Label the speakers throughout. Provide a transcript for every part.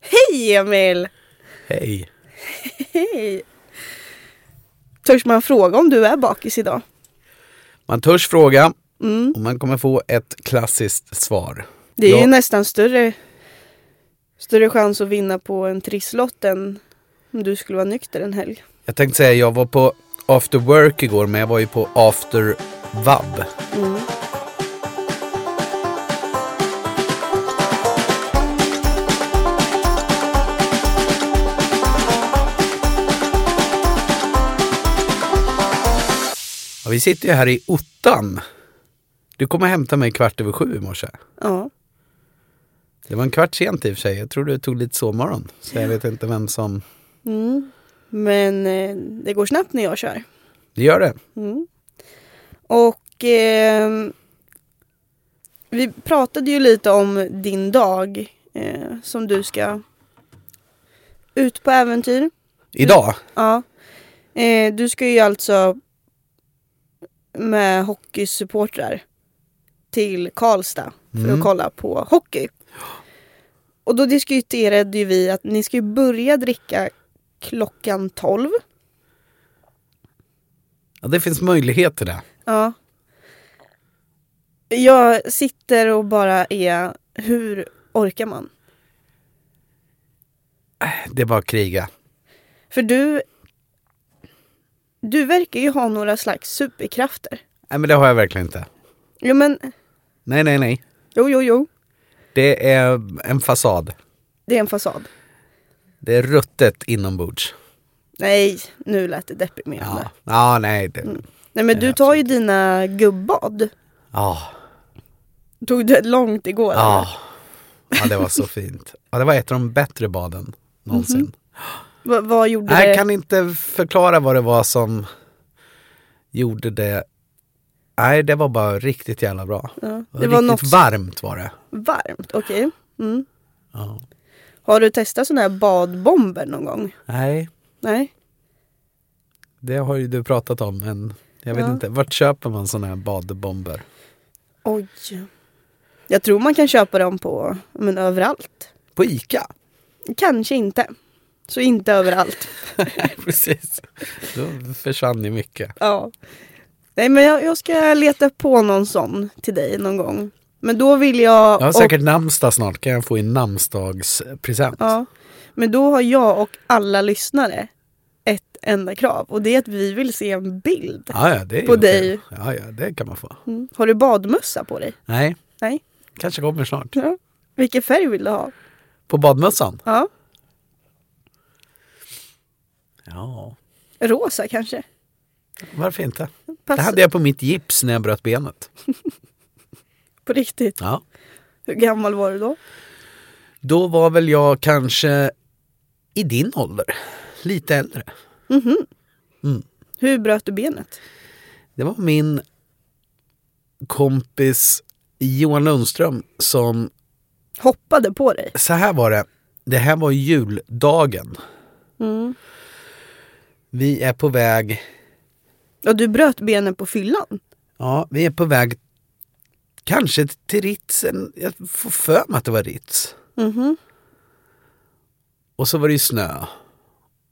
Speaker 1: Hej Emil!
Speaker 2: Hej.
Speaker 1: Hej! Törs man fråga om du är bakis idag?
Speaker 2: Man törs fråga och man kommer få ett klassiskt svar.
Speaker 1: Det är ju
Speaker 2: Ja.
Speaker 1: nästan större, större chans att vinna på en trisslott än om du skulle vara nykter en helg.
Speaker 2: Jag tänkte säga jag var på after work igår men jag var ju på after vab.
Speaker 1: Mm.
Speaker 2: Ja, vi sitter ju här i ottan. Du kommer hämta mig kvart över sju i morse.
Speaker 1: Ja.
Speaker 2: Det var en kvart sent i och för sig. Jag tror du tog lite sovmorgon. Så jag vet inte vem som...
Speaker 1: Mm. Men eh, det går snabbt när jag kör.
Speaker 2: Det gör det.
Speaker 1: Mm. Och ehm, vi pratade ju lite om din dag eh, som du ska ut på äventyr.
Speaker 2: Idag.
Speaker 1: Ja. Eh, du ska ju alltså med hockeysupportrar till Karlstad för att
Speaker 2: Mm.
Speaker 1: kolla på hockey. Och då diskuterade ju vi att ni ska ju börja dricka klockan 12.
Speaker 2: Ja, det finns möjlighet till det.
Speaker 1: Ja. Jag sitter och bara är, hur orkar man?
Speaker 2: Det är bara att kriga.
Speaker 1: För du, du verkar ju ha några slags superkrafter.
Speaker 2: Nej men det har jag verkligen inte.
Speaker 1: Jo men,
Speaker 2: Nej, nej, nej.
Speaker 1: jo jo jo,
Speaker 2: Det är en fasad.
Speaker 1: det är en fasad.
Speaker 2: Det är ruttet inombords.
Speaker 1: Nej, nu lät det deprimerande.
Speaker 2: Ja, ja nej. Det...
Speaker 1: Nej men du tar ju dina gubbad.
Speaker 2: Ja.
Speaker 1: Tog du ett långt igår?
Speaker 2: Ja. ja, det var så fint. Ja, det var ett av de bättre baden någonsin.
Speaker 1: Va- vad gjorde
Speaker 2: Nej,
Speaker 1: Mhm. det?
Speaker 2: Jag kan inte förklara vad det var som gjorde det. Nej, det var bara riktigt jävla bra.
Speaker 1: Ja.
Speaker 2: Det var,
Speaker 1: Det var något
Speaker 2: riktigt varmt var det.
Speaker 1: varmt, okej. Mm.
Speaker 2: Ja.
Speaker 1: Har du testat sådana här badbomber någon gång?
Speaker 2: Nej,
Speaker 1: Nej?
Speaker 2: det har ju du pratat om, men jag vet
Speaker 1: Ja.
Speaker 2: inte. Vart köper man sådana här badbomber?
Speaker 1: Oj. Jag tror man kan köpa dem på, men överallt.
Speaker 2: På Ica?
Speaker 1: Kanske inte. Så inte överallt.
Speaker 2: Precis. Då försvann ju mycket.
Speaker 1: Ja. Nej men jag, jag ska leta på någon sån till dig någon gång. Men då vill jag...
Speaker 2: Jag har
Speaker 1: och-
Speaker 2: säkert namnsdag snart. Kan jag få en namnsdagspresent?
Speaker 1: Ja. Men då har jag och alla lyssnare ett enda krav och det är att vi vill se en bild.
Speaker 2: Ja, ja, det är
Speaker 1: På
Speaker 2: ju okej.
Speaker 1: dig.
Speaker 2: Ja, ja, det kan man få.
Speaker 1: Mm. Har du badmössa på dig?
Speaker 2: Nej,
Speaker 1: Nej.
Speaker 2: kanske kommer snart.
Speaker 1: Ja. Vilken färg vill du ha?
Speaker 2: På badmössan?
Speaker 1: Ja.
Speaker 2: Ja,
Speaker 1: Rosa kanske?
Speaker 2: varför inte?
Speaker 1: Pass
Speaker 2: Det hade jag på mitt gips när jag bröt benet.
Speaker 1: på riktigt.
Speaker 2: Ja.
Speaker 1: Hur gammal var du då?
Speaker 2: Då var väl jag kanske i din ålder, lite äldre.
Speaker 1: Hur bröt du benet?
Speaker 2: Det var min kompis Johan Lundström som,
Speaker 1: Hoppade på dig?
Speaker 2: så här var det, det här var juldagen.
Speaker 1: Mm.
Speaker 2: Vi är på väg,
Speaker 1: Ja, du bröt benen på fyllan?
Speaker 2: ja vi är på väg kanske till Ritsen, jag får för mig att det var Ritz.
Speaker 1: Mhm.
Speaker 2: Och så var det ju snö.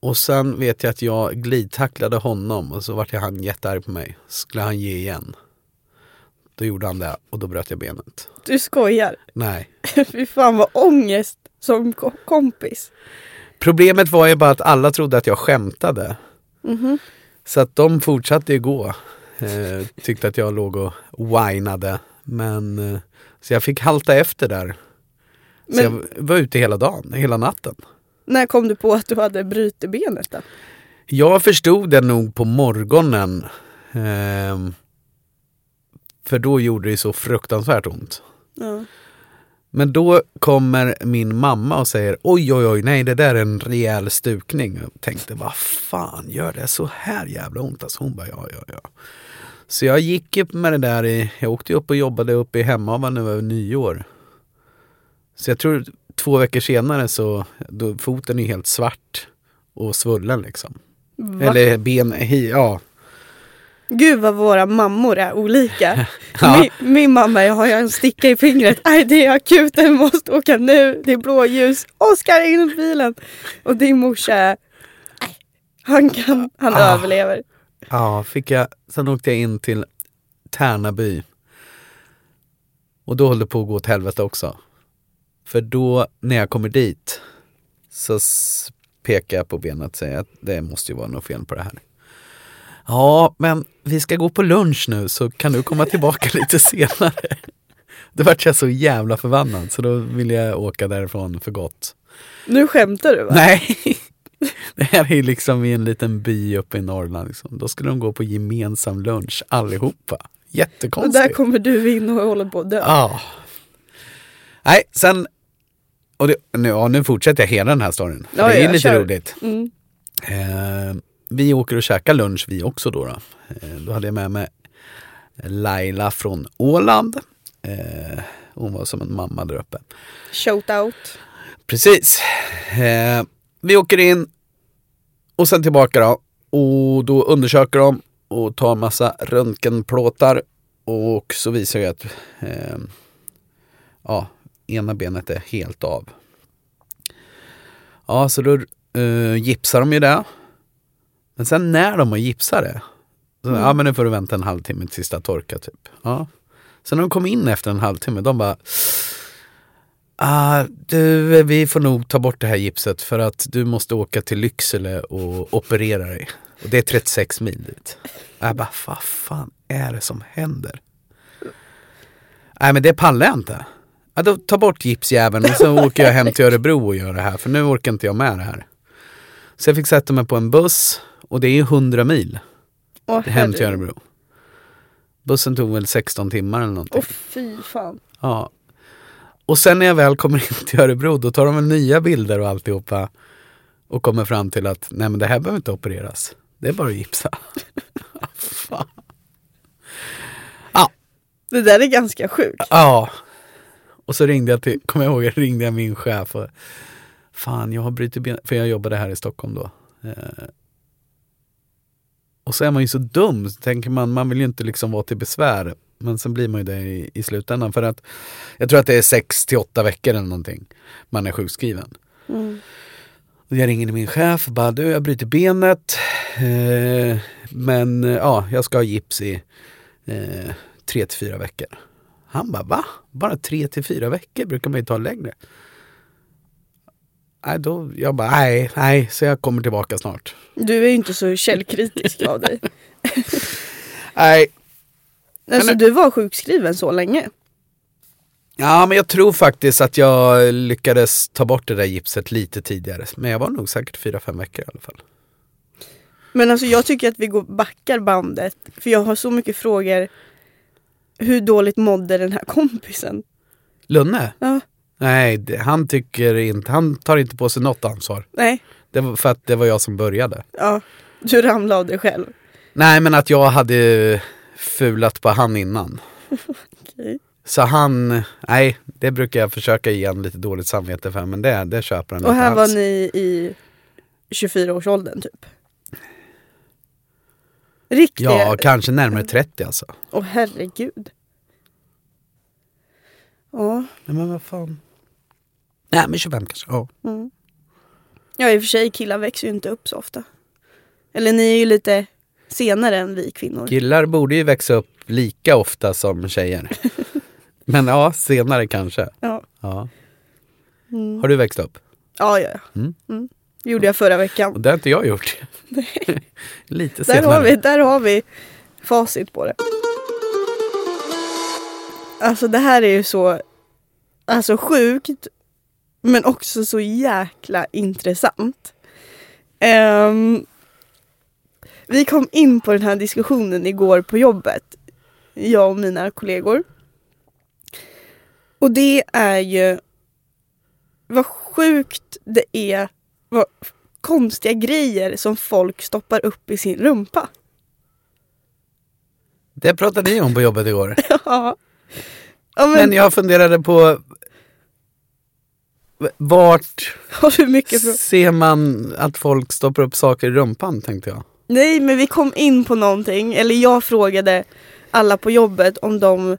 Speaker 2: Och sen vet jag att jag glidtacklade honom och så vart jag han jättearg på mig. Så skulle han ge igen. Då gjorde han det och då bröt jag benet.
Speaker 1: Du skojar?
Speaker 2: Nej.
Speaker 1: Fy fan vad ångest som ko- kompis.
Speaker 2: Problemet var ju bara att alla trodde att jag skämtade.
Speaker 1: Mhm.
Speaker 2: Så att de fortsatte ju gå. Eh, tyckte att jag låg och whinade. Men eh, så jag fick halta efter där. Så
Speaker 1: Men-
Speaker 2: jag var ute hela dagen, hela natten.
Speaker 1: När kom du på att du hade brutit benet då?
Speaker 2: Jag förstod det nog på morgonen. Ehm, för då gjorde det så fruktansvärt ont.
Speaker 1: Ja.
Speaker 2: Men då kommer min mamma och säger oj, oj, oj, nej, det där är en rejäl stukning. Jag tänkte, vad fan gör det så här jävla ont? Alltså hon bara, ja, ja, ja. Så jag gick upp med det där i, jag åkte ju upp och jobbade uppe i Hemavan nu över nyår. Så jag tror två veckor senare så, då, foten är helt svart och svullen liksom.
Speaker 1: Va?
Speaker 2: Eller ben, hi, ja.
Speaker 1: Gud vad våra mammor är olika.
Speaker 2: Ja.
Speaker 1: Min, min mamma är, har jag en sticka i fingret. Aj, det är akuten, vi måste åka nu. Det är blåljus. Oskar in i bilen. Och din morsa är, "Aj, han kan, han
Speaker 2: Ah.
Speaker 1: överlever.
Speaker 2: Ja, fick jag. Sen åkte jag in till Tärnaby. Och då höll det på att gå åt helvete också. För då, när jag kommer dit, så s- pekar jag på benet och säger att det måste ju vara något fel på det här. Ja, men vi ska gå på lunch nu så kan du komma tillbaka lite senare. Då vart jag så jävla förbannad så då ville jag åka därifrån för gott.
Speaker 1: Nu skämtar du va?
Speaker 2: Nej. Det här är ju liksom i en liten by uppe i Norrland. Liksom. Då skulle de gå på gemensam lunch allihopa.
Speaker 1: och
Speaker 2: Jättekonstigt.
Speaker 1: där kommer du in och håller på att dö.
Speaker 2: Ja. Nej, sen... Och det, nu, ja, nu fortsätter jag hela den här storyn.
Speaker 1: Ja,
Speaker 2: det är
Speaker 1: ja,
Speaker 2: lite
Speaker 1: kör.
Speaker 2: roligt.
Speaker 1: Mm.
Speaker 2: Eh, vi åker och käkar lunch vi också då. Då, eh, då hade jag med mig Laila från Åland. Eh, hon var som en mamma där uppe.
Speaker 1: Shout out.
Speaker 2: Precis. Eh, vi åker in och sen tillbaka då. Och då undersöker de och tar massa röntgenplåtar. Och så visar jag att eh, ja, ena benet är helt av. Ja, så då eh, gipsar de ju det. Men sen när de har gipsat det. Så, Ja, men nu får du vänta en halvtimme tills det har torkat typ. Ja. Sen när de kom in efter en halvtimme, de bara Ah, du, vi får nog ta bort det här gipset för att du måste åka till Lycksele och operera dig. Och det är 36 mil dit. Och jag bara, vad fan är det som händer? Nej men det pallar jag inte. Ja, då ta bort gipsjäveln och så åker jag hem till Örebro och gör det här för nu orkar inte jag med det här. Så jag fick sätta mig på en buss och det är 100 mil
Speaker 1: Åh,
Speaker 2: hem till
Speaker 1: herregud.
Speaker 2: Örebro. Bussen tog väl 16 timmar eller någonting.
Speaker 1: Åh fy fan.
Speaker 2: Ja. Och sen när jag väl kommer in till Örebro då tar de väl nya bilder och alltihopa och kommer fram till att nej men det här behöver inte opereras. Det är bara att gipsa. Fan.
Speaker 1: Det där är ganska sjukt.
Speaker 2: Ja. Och så ringde jag till, kommer jag ihåg, jag ringde jag min chef och fan jag har brutit benet, för jag jobbade här i Stockholm då. Eh. Och så är man ju så dum, så tänker man, man vill ju inte liksom vara till besvär. Men sen blir man ju det i, i slutändan för att jag tror att det är sex till åtta veckor eller någonting man är sjukskriven.
Speaker 1: Mm.
Speaker 2: Och Jag ringer till min chef och bara, du jag bryter benet. Eh, men eh, ja, jag ska ha gips i eh, tre till fyra veckor. Han bara, va? Bara tre till fyra veckor brukar man ju ta längre. Nej, då, jag bara, nej, nej, så jag kommer tillbaka snart.
Speaker 1: Du är ju inte så källkritisk av dig.
Speaker 2: Nej,
Speaker 1: Alltså du var sjukskriven så länge.
Speaker 2: ja men jag tror faktiskt att jag lyckades ta bort det där gipset lite tidigare. Men jag var nog säkert fyra, fem veckor i alla fall.
Speaker 1: Men alltså jag tycker att vi går backar bandet. För jag har så mycket frågor. Hur dåligt mådde den här kompisen?
Speaker 2: Lunne?
Speaker 1: Ja,
Speaker 2: Nej, det- han tycker inte, han tar inte på sig något ansvar.
Speaker 1: nej,
Speaker 2: Det var för att det var jag som började.
Speaker 1: ja. Du ramlade av dig själv.
Speaker 2: Nej men att jag hade fulat på han innan.
Speaker 1: Okej.
Speaker 2: Så han, nej det brukar jag försöka ge han lite dåligt samvete för men det, det köper han
Speaker 1: Och
Speaker 2: inte
Speaker 1: här var
Speaker 2: alls.
Speaker 1: ni i 24-årsåldern typ. Riktiga...
Speaker 2: Ja,
Speaker 1: Åh
Speaker 2: kanske närmare 30 alltså.
Speaker 1: herregud. Ja.
Speaker 2: Nej men vad fan. Nej men 25 kanske. Ja.
Speaker 1: Mm. Ja i och för sig, killar växer ju inte upp så ofta. Eller ni är ju lite senare än vi kvinnor.
Speaker 2: Killar borde ju växa upp lika ofta som tjejer. men ja, senare kanske.
Speaker 1: Ja.
Speaker 2: Ja.
Speaker 1: Mm.
Speaker 2: Har du växt upp?
Speaker 1: Ja, ja, ja.
Speaker 2: Mm.
Speaker 1: Mm. Det gjorde jag förra
Speaker 2: Och
Speaker 1: veckan.
Speaker 2: det har inte jag gjort. lite
Speaker 1: Där
Speaker 2: senare.
Speaker 1: har, vi, där har vi facit på det. Alltså det här är ju så alltså sjukt men också så jäkla intressant. Ehm, vi kom in på den här diskussionen igår på jobbet, jag och mina kollegor. Och det är ju vad sjukt det är, vad konstiga grejer som folk stoppar upp i sin rumpa.
Speaker 2: Det pratade ni om på jobbet igår.
Speaker 1: Ja. Ja, men,
Speaker 2: Men jag funderade på v- vart
Speaker 1: har du mycket frågor?
Speaker 2: ser man att folk stoppar upp saker i rumpan tänkte jag.
Speaker 1: Nej men vi kom in på någonting, eller jag frågade alla på jobbet om de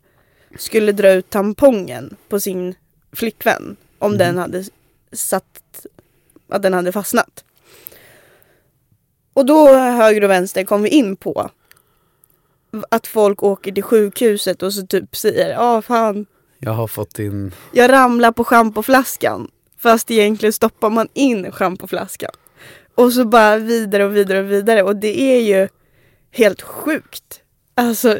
Speaker 1: skulle dra ut tampongen på sin flickvän. Om
Speaker 2: Mm.
Speaker 1: den hade satt, att den hade fastnat. Och då höger och vänster kom vi in på att folk åker till sjukhuset och så typ säger ja fan,
Speaker 2: Jag har fått in...
Speaker 1: jag ramlar på schampoflaskan. Fast egentligen stoppar man in schampoflaskan. Och så bara vidare och vidare och vidare. Och det är ju helt sjukt. Alltså.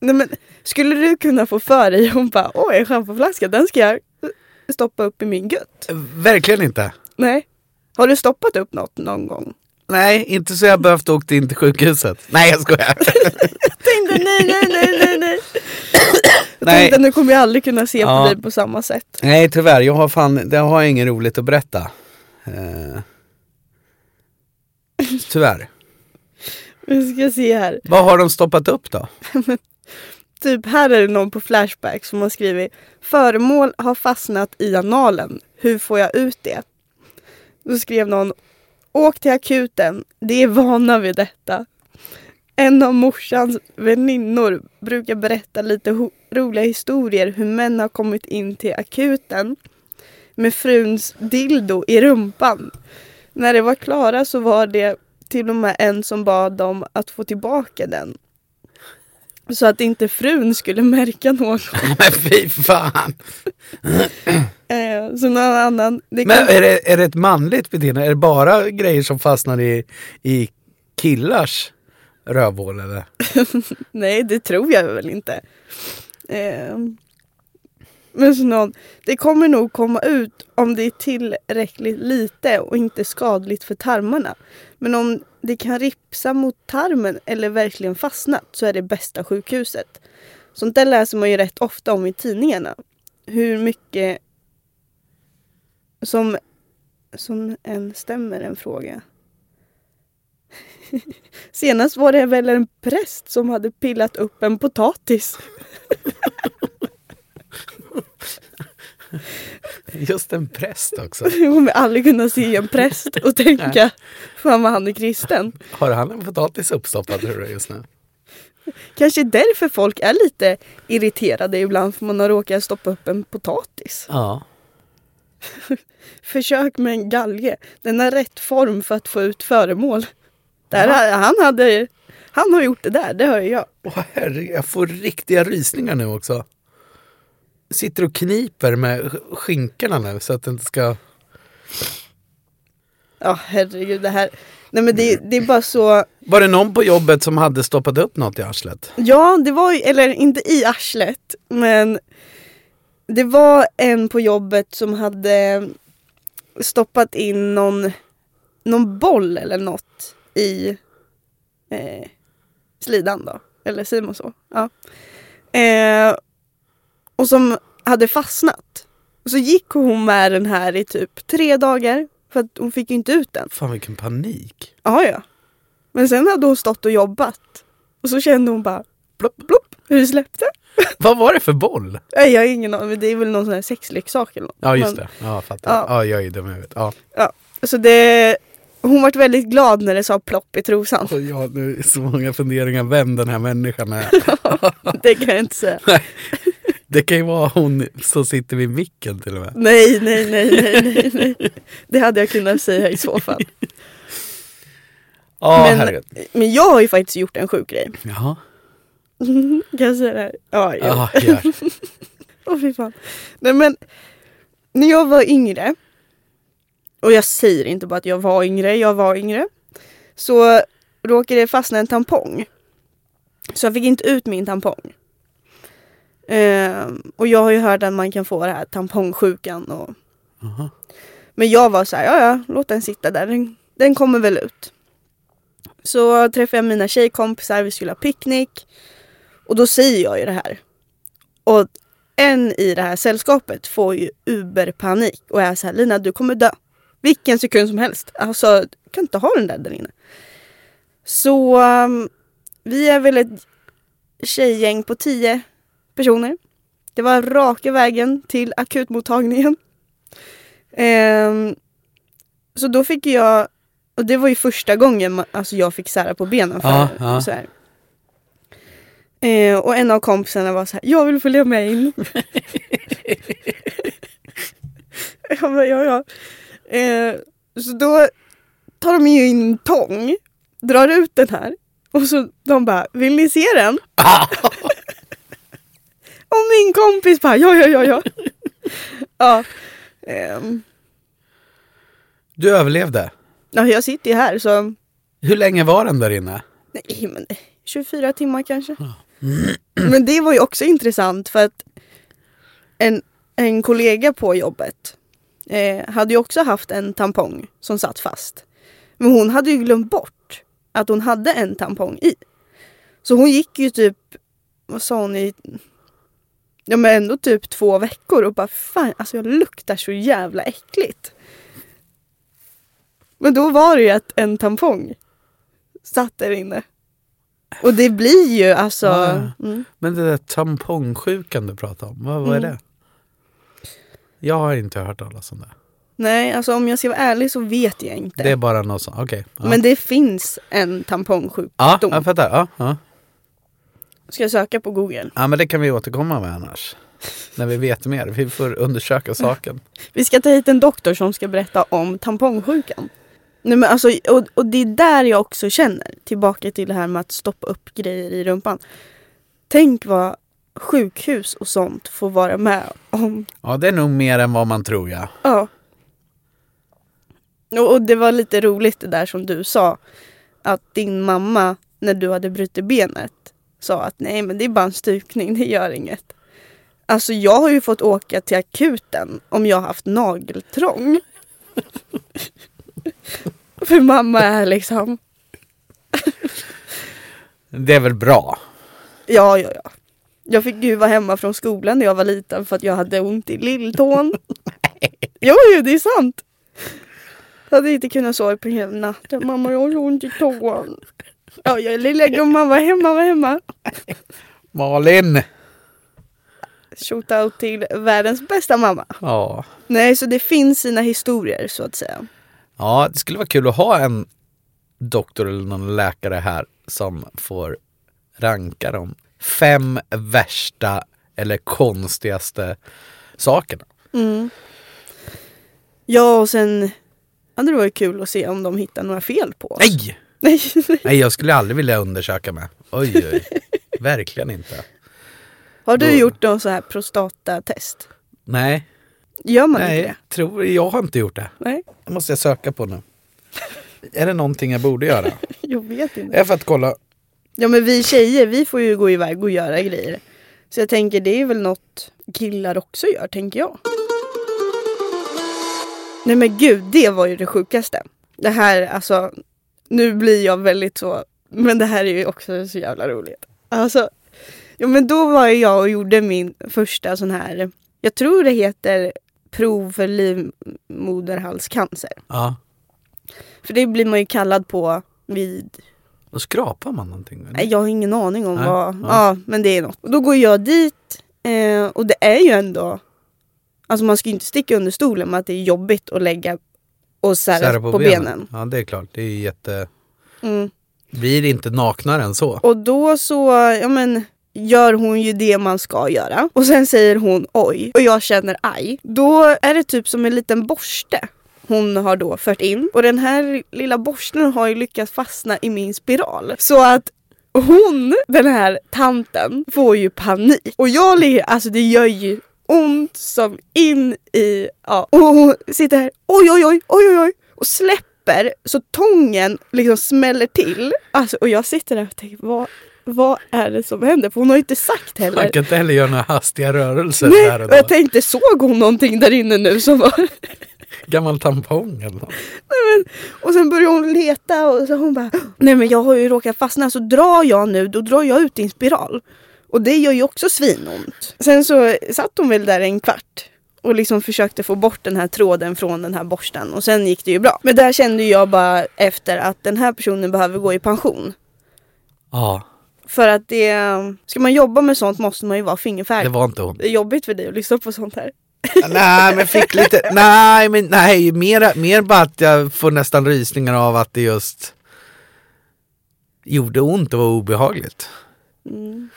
Speaker 1: Nej men, skulle du kunna få för dig och bara åh en schampoflaska den ska jag stoppa upp i min gutt.
Speaker 2: Verkligen inte.
Speaker 1: Nej. Har du stoppat upp något någon gång?
Speaker 2: Nej, inte så jag behövt åkt in till sjukhuset. Nej, jag skojar.
Speaker 1: Tänkte nej nej nej nej nej. Jag
Speaker 2: Nej.
Speaker 1: tänkte nu kommer jag aldrig kunna se
Speaker 2: Ja.
Speaker 1: på dig på samma sätt.
Speaker 2: Nej, tyvärr. Jag har fan... Det har jag inget roligt att berätta. Eh, Tyvärr.
Speaker 1: Vi ska se här.
Speaker 2: Vad har de stoppat upp då?
Speaker 1: Typ här är det någon på Flashback som har skrivit Föremål har fastnat i analen. Hur får jag ut det? Då skrev någon Åk till akuten. Det är vana vid detta. En av morsans väninnor brukar berätta lite ho- roliga historier hur män har kommit in till akuten med fruns dildo i rumpan. När det var klara så var det till och med en som bad dem att få tillbaka den. Så att inte frun skulle märka något.
Speaker 2: Men fy fan.
Speaker 1: Eh, så någon annan... Det
Speaker 2: Men eh,
Speaker 1: kan-
Speaker 2: är det, är det ett manligt beteende? Är det bara grejer som fastnar i, i killars rövhål eller?
Speaker 1: Nej, det tror jag väl inte. Eh, men så någon, det kommer nog komma ut om det är tillräckligt lite och inte skadligt för tarmarna. Men om det kan ripsa mot tarmen eller verkligen fastnat så är det bästa sjukhuset. Sånt där läser man ju rätt ofta om i tidningarna. Hur mycket som, som en stämmer en fråga. Senast var det väl en präst som hade pillat upp en potatis.
Speaker 2: Just en präst också.
Speaker 1: Jag kommer aldrig kunna se en präst och tänka fan vad han är kristen.
Speaker 2: Har han en potatis uppstoppad tror du just nu?
Speaker 1: Kanske därför folk är lite irriterade ibland för man har råkat stoppa upp en potatis.
Speaker 2: Ja.
Speaker 1: Försök med en galge. Den har rätt form för att få ut föremål. Där, han, hade, han har gjort det där, det hör jag.
Speaker 2: Åh herregud, jag får riktiga rysningar nu också. Sitter och kniper med sk- skinkorna nu så att det inte ska...
Speaker 1: Ja herregud det här. Nej men det, det är bara så.
Speaker 2: Var det någon på jobbet som hade stoppat upp något i arslet?
Speaker 1: Ja, det var ju, eller inte i arslet, men det var en på jobbet som hade stoppat in någon, någon boll eller något i eh, slidan då, eller säger man så? Ja. Eh, och som hade fastnat. Så gick hon med den här i typ tre dagar för att hon fick ju inte ut den.
Speaker 2: Fan vilken panik.
Speaker 1: Ja, ja. Men sen hade hon stått och jobbat. Och så kände hon bara
Speaker 2: Plopp,
Speaker 1: plopp, hur släppte?
Speaker 2: Vad var det för boll?
Speaker 1: Nej, jag har ingen aning, men det är väl någon sån här sexleksak eller något.
Speaker 2: Ja
Speaker 1: Men-
Speaker 2: just det, ja fattar. Ja,
Speaker 1: Ja.
Speaker 2: jag är ju dum i huvudet. Ja.
Speaker 1: Så det, hon vart väldigt glad när det sa plopp i trosan.
Speaker 2: Och jag har nu så många funderingar vem den här människan är.
Speaker 1: Det kan jag inte säga.
Speaker 2: Det kan ju vara hon som sitter vid micken till och med.
Speaker 1: Nej, nej, nej, nej, nej, nej. Det hade jag kunnat säga i så fall.
Speaker 2: Ja
Speaker 1: Men-
Speaker 2: herregud.
Speaker 1: Men jag har ju faktiskt gjort en sjuk grej.
Speaker 2: Jaha. Ah,
Speaker 1: Kan jag säga det här? Ja, jo.
Speaker 2: Ja, gör.
Speaker 1: Åh fy fan. Nej men, när jag var yngre, och jag säger inte bara att jag var yngre, jag var yngre, så råkade det fastna en tampong. Så jag fick inte ut min tampong. Ehm, och jag har ju hört att man kan få det här tampongsjukan och
Speaker 2: Jaha.
Speaker 1: men jag var så här, ja ja, låt den sitta där, den, den kommer väl ut. Så träffade jag mina tjejkompisar, vi skulle ha picknick. Och då säger jag ju det här. Och en i det här sällskapet får ju uberpanik och är så här, Lina du kommer dö. Vilken sekund som helst. Alltså, du kan inte ha den där där inne. Så um, vi är väl ett tjejgäng på tio personer. Det var raka vägen till akutmottagningen. Ehm, så då fick jag, Och det var ju första gången ma- alltså, jag fick sära på benen. För,
Speaker 2: Ja, ja.
Speaker 1: Så här. Eh, och en av kompisarna var så här, jag vill följa med in. jag bara, ja ja. Eh, så då tar de ju in en tång, drar ut den här. Och så de bara, vill ni se den? och min kompis bara, ja ja ja ja. ja. Ehm,
Speaker 2: Du överlevde.
Speaker 1: ja, jag sitter ju här så
Speaker 2: Hur länge var den där inne?
Speaker 1: Nej, men 24 timmar kanske. Men det var ju också intressant för att en, en kollega på jobbet eh, hade ju också haft en tampong som satt fast. Men hon hade ju glömt bort att hon hade en tampong i. Så hon gick ju typ, vad sa hon i, ja men ändå typ två veckor och bara fan alltså jag luktar så jävla äckligt. Men då var det ju att en tampong satt där inne. Och det blir ju alltså...
Speaker 2: Ja,
Speaker 1: Mm.
Speaker 2: Men det där tampongsjukan du pratade om, vad, vad är
Speaker 1: Mm.
Speaker 2: det? Jag har inte hört talas om det.
Speaker 1: Nej, alltså om jag ska vara ärlig så vet jag inte.
Speaker 2: Det, är bara något sånt, okej. ja.
Speaker 1: Men det finns en tampongsjuk.
Speaker 2: ja,
Speaker 1: dom.
Speaker 2: jag fattar. Ja, ja.
Speaker 1: Ska jag söka på Google?
Speaker 2: ja, men det kan vi återkomma med annars. När vi vet mer. Vi får undersöka saken.
Speaker 1: Vi ska ta hit en doktor som ska berätta om tampongsjukan. Nej, men alltså, och, och det är där jag också känner, tillbaka till det här med att stoppa upp grejer i rumpan. Tänk vad sjukhus och sånt får vara med om.
Speaker 2: Ja, det är nog mer än vad man tror, ja.
Speaker 1: Ja. Och, och det var lite roligt det där som du sa. Att din mamma, när du hade brutit benet, sa att nej men det är bara en stukning, det gör inget. Alltså jag har ju fått åka till akuten om jag har haft nageltrång. För mamma är liksom,
Speaker 2: Det är väl bra.
Speaker 1: ja ja ja. Jag fick ju vara hemma från skolan när jag var liten för att jag hade ont i lilltån. Jo, jo det är sant. Jag hade inte kunnat sova på hela natten. Mamma, jag har så ont i tån. Ja, jag är lilla gumman, var hemma, var hemma.
Speaker 2: Malin!
Speaker 1: Shoot out till världens bästa mamma.
Speaker 2: Ja.
Speaker 1: Nej, så det finns sina historier så att säga.
Speaker 2: ja, det skulle vara kul att ha en doktor eller någon läkare här som får ranka de fem värsta eller konstigaste sakerna.
Speaker 1: Mm. Ja, och sen hade det varit kul att se om de hittar några fel på oss.
Speaker 2: Nej!
Speaker 1: Nej,
Speaker 2: Nej, jag skulle aldrig vilja undersöka mig. Oj, oj. Verkligen inte.
Speaker 1: Har du
Speaker 2: Då-
Speaker 1: gjort någon så här prostatatest?
Speaker 2: Nej,
Speaker 1: Gör man inte
Speaker 2: nej
Speaker 1: det?
Speaker 2: tror, jag har inte gjort det.
Speaker 1: Nej,
Speaker 2: Det måste jag söka på nu. Är det någonting jag borde göra?
Speaker 1: jag vet inte.
Speaker 2: Är för att kolla.
Speaker 1: Ja men vi tjejer, vi får ju gå iväg och göra grejer. Så jag tänker det är väl något killar också gör, tänker jag. Nej men gud, det var ju det sjukaste. Det här, alltså, nu blir jag väldigt så, men det här är ju också så jävla roligt. Alltså, ja men då var ju jag och gjorde min första sån här, jag tror det heter prov för livmoderhalscancer.
Speaker 2: Ja.
Speaker 1: För det blir man ju kallad på vid
Speaker 2: Då skrapar man någonting. eller?
Speaker 1: Nej, jag har ingen aning om
Speaker 2: Nej,
Speaker 1: vad.
Speaker 2: nej.
Speaker 1: Ja, men det är något. Och då går jag dit eh, och det är ju ändå... Alltså man ska ju inte sticka under stolen med att det är jobbigt att lägga och sära,
Speaker 2: Sära
Speaker 1: på, benen.
Speaker 2: Ja, det är klart. Det är ju jätte...
Speaker 1: Mm.
Speaker 2: Blir inte naknare än så.
Speaker 1: Och då så, ja men, gör hon ju det man ska göra. Och sen säger hon oj och jag känner aj. Då är det typ som en liten borste hon har då fört in. Och den här lilla borsten har ju lyckats fastna i min spiral. Så att hon, den här tanten, får ju panik. Och jag ligger, alltså det gör ju ont som in i, ja. Och hon sitter här, oj oj oj, oj oj oj. Och släpper så tången liksom smäller till. Alltså och jag sitter där och tänker, vad, vad är det som händer? För hon har ju inte sagt heller.
Speaker 2: Man kan inte heller göra några hastiga rörelser där
Speaker 1: Nej,
Speaker 2: och
Speaker 1: och jag
Speaker 2: då.
Speaker 1: tänkte såg hon någonting där inne nu som var...
Speaker 2: Gammal tampong eller något.
Speaker 1: Och sen började hon leta och så hon bara Nej men jag har ju råkat fastna så drar jag nu då drar jag ut din spiral. Och det gör ju också svinont. Sen så satt hon väl där en kvart och liksom försökte få bort den här tråden från den här borsten och sen gick det ju bra. Men där kände jag bara efter att den här personen behöver gå i pension.
Speaker 2: Ja,
Speaker 1: För att det, ska man jobba med sånt måste man ju vara
Speaker 2: det
Speaker 1: fingerfärdig.
Speaker 2: var inte hon.
Speaker 1: Det är jobbigt för dig att lyssna på sånt här.
Speaker 2: nej men fick lite, nej men nej, mer, mer bara att jag får nästan rysningar av att det just gjorde ont och var obehagligt.
Speaker 1: Mm.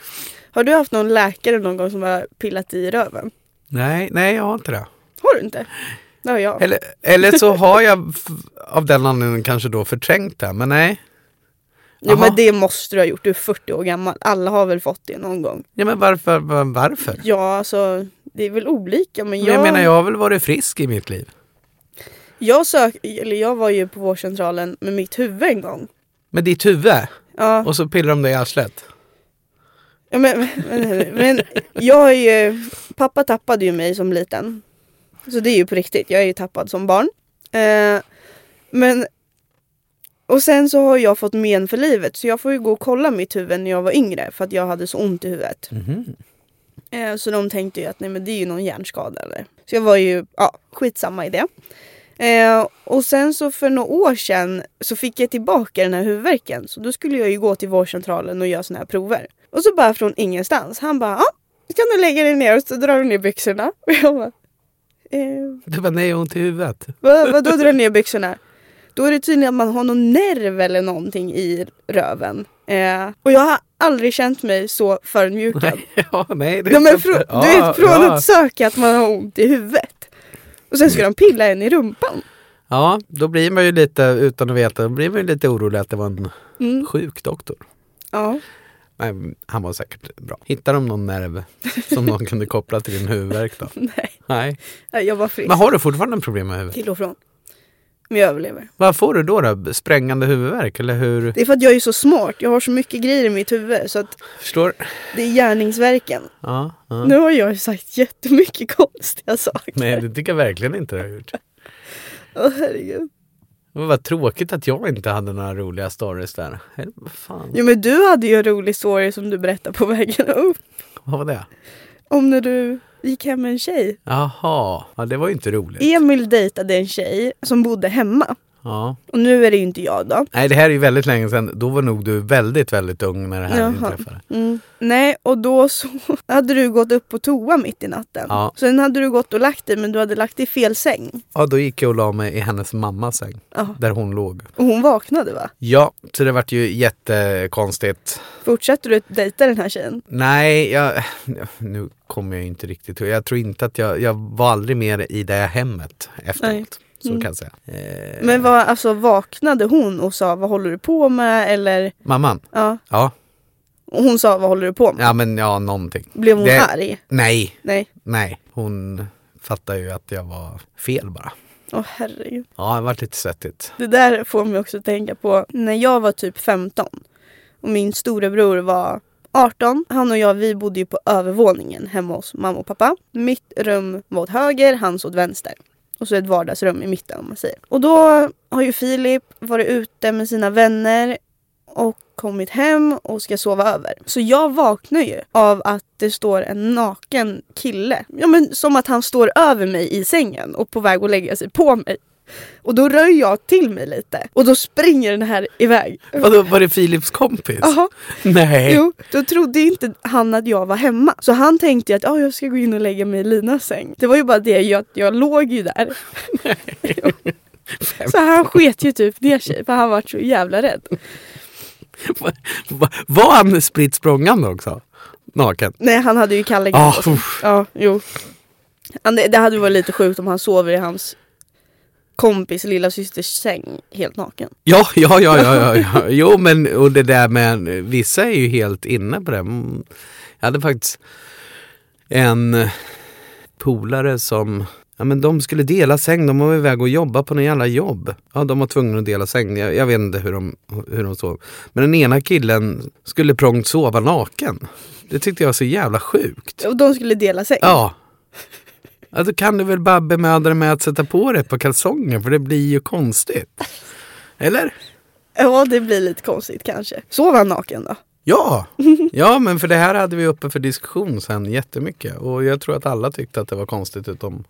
Speaker 1: Har du haft någon läkare någon gång som har pillat i röven?
Speaker 2: Nej, nej jag har inte det.
Speaker 1: Har du inte? Det har jag.
Speaker 2: Eller, eller så har jag f- av den anledningen kanske då förträngt det, men nej.
Speaker 1: Jo,
Speaker 2: Aha.
Speaker 1: men det måste du ha gjort, du är 40 år gammal. Alla har väl fått det någon gång.
Speaker 2: Ja men varför? var- varför?
Speaker 1: Ja, alltså det är väl olika men
Speaker 2: Men
Speaker 1: jag,
Speaker 2: Jag menar jag har väl varit frisk i mitt liv.
Speaker 1: jag sök, eller jag var ju på vårdcentralen med mitt huvud en gång.
Speaker 2: Med ditt huvud?
Speaker 1: Ja,
Speaker 2: Och så pillar de dig i arslet?
Speaker 1: ja, men, men, men jag är ju, pappa tappade ju mig som liten. Så det är ju på riktigt, jag är ju tappad som barn. Eh, men, och sen så har jag fått men för livet så jag får ju gå och kolla mitt huvud när jag var yngre för att jag hade så ont i huvudet.
Speaker 2: Mhm.
Speaker 1: Eh, Så de tänkte ju att nej men det är ju någon hjärnskada eller. Så jag var ju, ja skitsamma i det. Eh, och sen så för några år sedan så fick jag tillbaka den här huvudvärken. Så då skulle jag ju gå till vårdcentralen och göra såna här prover. Och så bara från ingenstans, han bara ja, kan du lägga dig ner och så drar du ner byxorna. Och jag bara, eh,
Speaker 2: Du bara nej, jag har ont i huvudet.
Speaker 1: vad, vadå drar ner byxorna? Då är det tydligen att man har någon nerv eller någonting i röven. Eh, och jag har aldrig känt mig så förödmjukad.
Speaker 2: Ja, nej, det
Speaker 1: Ja, men
Speaker 2: inte-
Speaker 1: frå-
Speaker 2: Ja,
Speaker 1: du vet, från
Speaker 2: ja. Mm.
Speaker 1: att söka att man har ont i huvudet. Och sen ska de pilla en i rumpan.
Speaker 2: Ja, då blir man ju lite, utan att veta, då blir man ju lite orolig att det var en
Speaker 1: Mm.
Speaker 2: sjuk doktor.
Speaker 1: Ja.
Speaker 2: Nej, han var säkert bra. Hittade de någon nerv som någon kunde koppla till din huvudvärk då?
Speaker 1: Nej,
Speaker 2: Nej.
Speaker 1: jag var frisk.
Speaker 2: Men har du fortfarande problem med huvudet?
Speaker 1: Till och från. Men jag överlever.
Speaker 2: Vad får du då? då? Sprängande huvudvärk eller hur?
Speaker 1: Det är för att jag är så smart. Jag har så mycket grejer i mitt huvud så att
Speaker 2: Förstår?
Speaker 1: det är gärningsverken.
Speaker 2: Ja, ja.
Speaker 1: Nu har jag ju sagt jättemycket konstiga saker.
Speaker 2: Nej, det tycker jag verkligen inte du har gjort.
Speaker 1: Åh herregud.
Speaker 2: Det var tråkigt att jag inte hade några roliga stories där. Eller vad fan,
Speaker 1: Jo men du hade ju en rolig story som du berättade på vägen upp.
Speaker 2: vad var det?
Speaker 1: Om när du gick hem med en tjej.
Speaker 2: Jaha, ja, det var ju inte roligt.
Speaker 1: Emil dejtade en tjej som bodde hemma.
Speaker 2: Ja.
Speaker 1: Och nu är det ju inte jag då.
Speaker 2: Nej, det här är ju väldigt länge sedan. Då var nog du väldigt, väldigt ung när det här
Speaker 1: Jaha.
Speaker 2: inträffade.
Speaker 1: Mm. Nej, och då så hade du gått upp på toa mitt i natten.
Speaker 2: Ja.
Speaker 1: Sen hade du gått och lagt dig, men du hade lagt dig i fel säng.
Speaker 2: Ja, då gick jag och la mig i hennes mammas säng,
Speaker 1: Ja.
Speaker 2: där hon låg.
Speaker 1: Och hon vaknade va?
Speaker 2: Ja, så det vart ju jättekonstigt.
Speaker 1: Fortsatte du att dejta den här tjejen?
Speaker 2: Nej, jag, nu kommer jag inte riktigt ihåg. Jag tror inte att jag, jag var aldrig mer i det hemmet efteråt.
Speaker 1: Nej.
Speaker 2: Så
Speaker 1: Mm.
Speaker 2: kan jag säga. Eh,
Speaker 1: Men vad, alltså vaknade hon och sa vad håller du på med? Eller
Speaker 2: Mamman?
Speaker 1: ja,
Speaker 2: Ja.
Speaker 1: och hon sa vad håller du på med?
Speaker 2: ja, men ja, någonting.
Speaker 1: Blev hon
Speaker 2: Det-
Speaker 1: arg?
Speaker 2: Nej,
Speaker 1: Nej.
Speaker 2: nej. Hon fattade ju att jag var fel bara.
Speaker 1: Åh herregud.
Speaker 2: Ja, det vart lite svettigt.
Speaker 1: Det där får mig också att tänka på när jag var typ 15 och min storebror var 18. Han och jag vi bodde ju på övervåningen hemma hos mamma och pappa. Mitt rum var åt höger, hans åt vänster. Och så ett vardagsrum i mitten om man säger. Och då har ju Filip varit ute med sina vänner och kommit hem och ska sova över. Så jag vaknar ju av att det står en naken kille. Ja men som att han står över mig i sängen och på väg att lägga sig på mig. Och då rör jag till mig lite och då springer den här iväg.
Speaker 2: Vadå, var det Filips kompis?
Speaker 1: Jaha,
Speaker 2: Nej.
Speaker 1: jo, då trodde ju inte han att jag var hemma. Så han tänkte ju att "Ja, jag ska gå in och lägga mig i Linas säng. Det var ju bara det, jag, jag låg ju där. Jo. så han sket ju typ ner sig för han var så jävla rädd.
Speaker 2: Va- Var han spritt språngande också? Naken?
Speaker 1: Nej, han hade ju kalla
Speaker 2: Ah,
Speaker 1: grejer.
Speaker 2: uff.
Speaker 1: Ja, jo. Han, det, det hade ju varit lite sjukt om han sover i hans kompis lilla systers säng helt naken.
Speaker 2: ja, ja, ja, ja, ja, ja. Jo, men och det där med vissa är ju helt inne på det. Mm. Jag hade faktiskt en polare som Ja men de skulle dela säng, de var iväg och jobba på någon jävla jobb. Ja de var tvungna att dela säng, jag, jag vet inte hur de, hur de sov. Men den ena killen skulle prångt sova naken. Det tyckte jag var så jävla sjukt.
Speaker 1: Och de skulle dela säng.
Speaker 2: Ja. ja. Då kan du väl bara bemöda dig med att sätta på dig ett par kalsonger för det blir ju konstigt. Eller?
Speaker 1: ja, det blir lite konstigt kanske. Sov han naken då?
Speaker 2: Ja! Ja, men för det här hade vi uppe för diskussion sen jättemycket. Och jag tror att alla tyckte att det var konstigt utom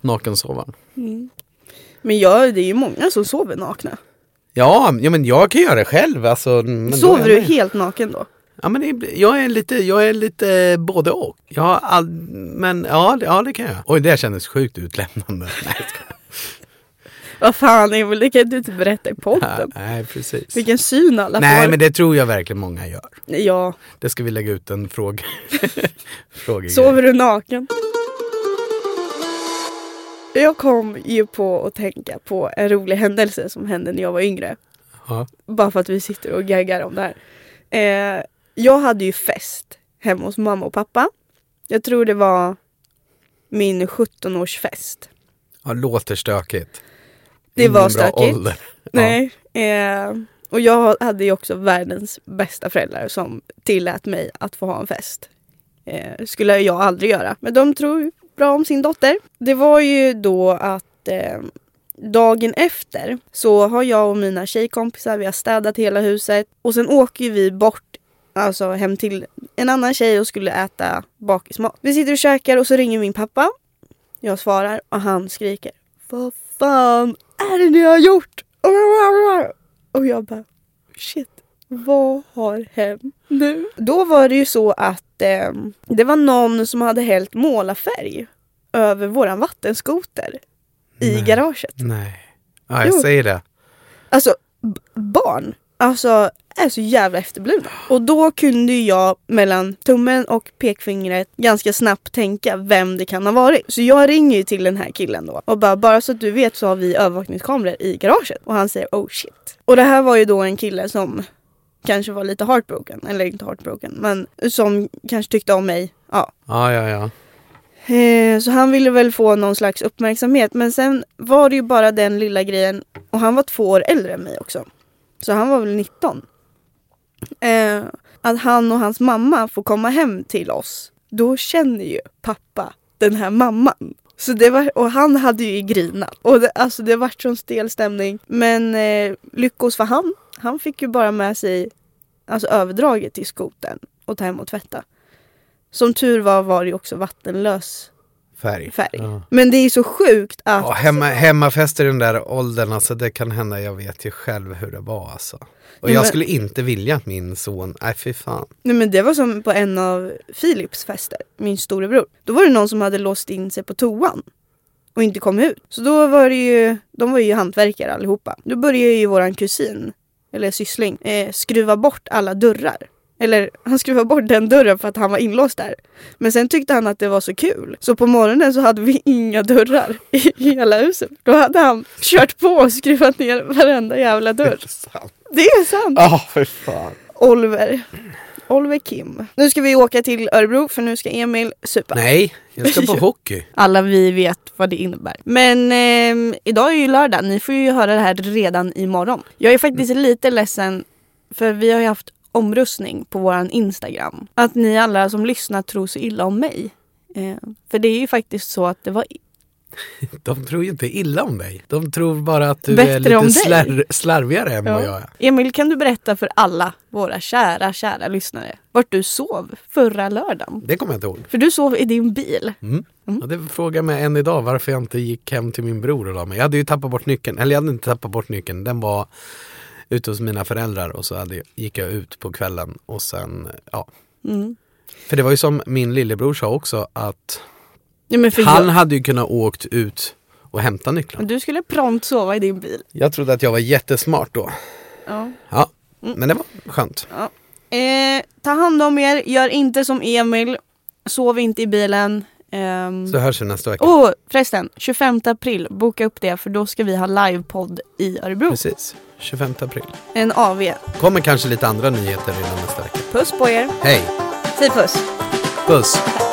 Speaker 2: nakensovaren.
Speaker 1: Men jag, det är ju många som sover nakna.
Speaker 2: Ja, ja, men jag kan göra det själv. Alltså, men då är
Speaker 1: Sover du
Speaker 2: jag med.
Speaker 1: helt naken då?
Speaker 2: Ja, men det, jag är lite, jag är lite både och. Jag har all, men ja, det- ja, det kan jag. Oj, det här kändes sjukt utlämnande. Nej, jag skojar.
Speaker 1: Vad fan Emil, det kan du inte berätta i podden.
Speaker 2: Nej, precis.
Speaker 1: Vilken syn alla
Speaker 2: Nej,
Speaker 1: får.
Speaker 2: men det tror jag verkligen många gör.
Speaker 1: Ja,
Speaker 2: Det ska vi lägga ut en fråga. fråga
Speaker 1: sover du naken? Jag kom ju på att tänka på en rolig händelse som hände när jag var yngre.
Speaker 2: Ja.
Speaker 1: Bara för att vi sitter och gaggar om det här. Eh, jag hade ju fest hemma hos mamma och pappa. Jag tror det var min 17-årsfest.
Speaker 2: ja, låter stökigt.
Speaker 1: Det
Speaker 2: Ingen
Speaker 1: var
Speaker 2: Mm, bra
Speaker 1: stökigt.
Speaker 2: ålder. Ja.
Speaker 1: Nej. Eh, och jag hade ju också världens bästa föräldrar som tillät mig att få ha en fest. Eh, skulle jag aldrig göra. Men de tror ju bra om sin dotter. Det var ju då att eh, dagen efter så har jag och mina tjejkompisar, vi har städat hela huset och sen åker ju vi bort Alltså hem till en annan tjej och skulle äta bakismat. Vi sitter och käkar och så ringer min pappa. Jag svarar och han skriker. Vad fan är det ni har gjort? Och jag bara, shit, vad har hänt nu? Då var det ju så att eh, det var någon som hade hällt målarfärg över våran vattenskoter i
Speaker 2: Nej.
Speaker 1: garaget.
Speaker 2: Nej. Ja, jag
Speaker 1: Jo.
Speaker 2: säger det.
Speaker 1: Alltså, b- barn alltså, är så jävla efterblivna. Och då kunde ju jag mellan tummen och pekfingret ganska snabbt tänka vem det kan ha varit. Så jag ringer ju till den här killen då och bara, bara så att du vet så har vi övervakningskameror i garaget. Och han säger oh shit. Och det här var ju då en kille som kanske var lite heartbroken, eller inte heartbroken, men som kanske tyckte om mig. Ja,
Speaker 2: Ja, ja, ja.
Speaker 1: Eh, Så han ville väl få någon slags uppmärksamhet. Men sen var det ju bara den lilla grejen. Och han var två år äldre än mig också. Så han var väl 19. Eh, att han och hans mamma får komma hem till oss. Då känner ju pappa den här mamman. Så det var, och han hade ju grinat. Och det, alltså det vart sån stel stämning. Men eh, lyckos för han. Han fick ju bara med sig alltså överdraget till skoten och ta hem och tvätta. Som tur var var det ju också vattenlös
Speaker 2: Färg.
Speaker 1: färg.
Speaker 2: Ja.
Speaker 1: Men det är ju så sjukt att...
Speaker 2: Ja, hemma, hemmafester i den där åldern, alltså det kan hända, jag vet ju själv hur det var alltså. Och
Speaker 1: Nej,
Speaker 2: jag
Speaker 1: men-
Speaker 2: skulle inte vilja att min son, nej fy fan.
Speaker 1: Nej men det var som på en av Philips fester, min storebror. Då var det någon som hade låst in sig på toan och inte kom ut. Så då var det ju, de var ju hantverkare allihopa. Då började ju våran kusin, eller syssling, eh, skruva bort alla dörrar. Eller han skruvade bort den dörren för att han var inlåst där. Men sen tyckte han att det var så kul. Så på morgonen så hade vi inga dörrar i hela huset. Då hade han kört på och skruvat ner varenda jävla dörr. Det är sant!
Speaker 2: Ja, för fan.
Speaker 1: Oliver. Oliver Kim. Nu ska vi åka till Örebro för nu ska Emil supa.
Speaker 2: Nej, jag ska på hockey.
Speaker 1: Alla vi vet vad det innebär. Men ehm, idag är ju lördag. Ni får ju höra det här redan imorgon. Jag är faktiskt
Speaker 2: Mm.
Speaker 1: lite ledsen för vi har ju haft omröstning på våran Instagram. Att ni alla som lyssnar tror så illa om mig. Eh, för det är ju faktiskt så att det var
Speaker 2: De tror ju inte illa om dig. De tror bara att du
Speaker 1: Bättre
Speaker 2: är
Speaker 1: om
Speaker 2: lite
Speaker 1: dig.
Speaker 2: slär, slarvigare än vad jag är.
Speaker 1: Emil, kan du berätta för alla våra kära, kära lyssnare vart du sov förra lördagen?
Speaker 2: Det kommer jag inte ihåg.
Speaker 1: För du sov i din bil.
Speaker 2: Mm. Ja, det frågar mig än idag varför jag inte gick hem till min bror och la mig. Jag hade ju tappat bort nyckeln, eller jag hade inte tappat bort nyckeln. Den var ute hos mina föräldrar och så hade, jag- gick jag ut på kvällen och sen, ja.
Speaker 1: Mm.
Speaker 2: För det var ju som min lillebror sa också att
Speaker 1: Ja, men för
Speaker 2: han
Speaker 1: jag,
Speaker 2: hade ju kunnat åkt ut och hämta nycklarna.
Speaker 1: du skulle prompt sova i din bil.
Speaker 2: Mm. Jag trodde att jag var jättesmart då.
Speaker 1: Ja.
Speaker 2: Ja,
Speaker 1: Mm.
Speaker 2: men det var skönt.
Speaker 1: Eh, ta hand om er, gör inte som Emil. Sov inte i bilen. Ehm,
Speaker 2: Så hörs vi nästa vecka.
Speaker 1: Åh, förresten, 25 april, boka upp det för då ska vi ha livepodd i Örebro.
Speaker 2: Precis, 25 april.
Speaker 1: En AV.
Speaker 2: Kommer kanske lite andra nyheter innan nästa vecka.
Speaker 1: Puss på er.
Speaker 2: Hej,
Speaker 1: Säg puss.
Speaker 2: puss!
Speaker 1: Tack.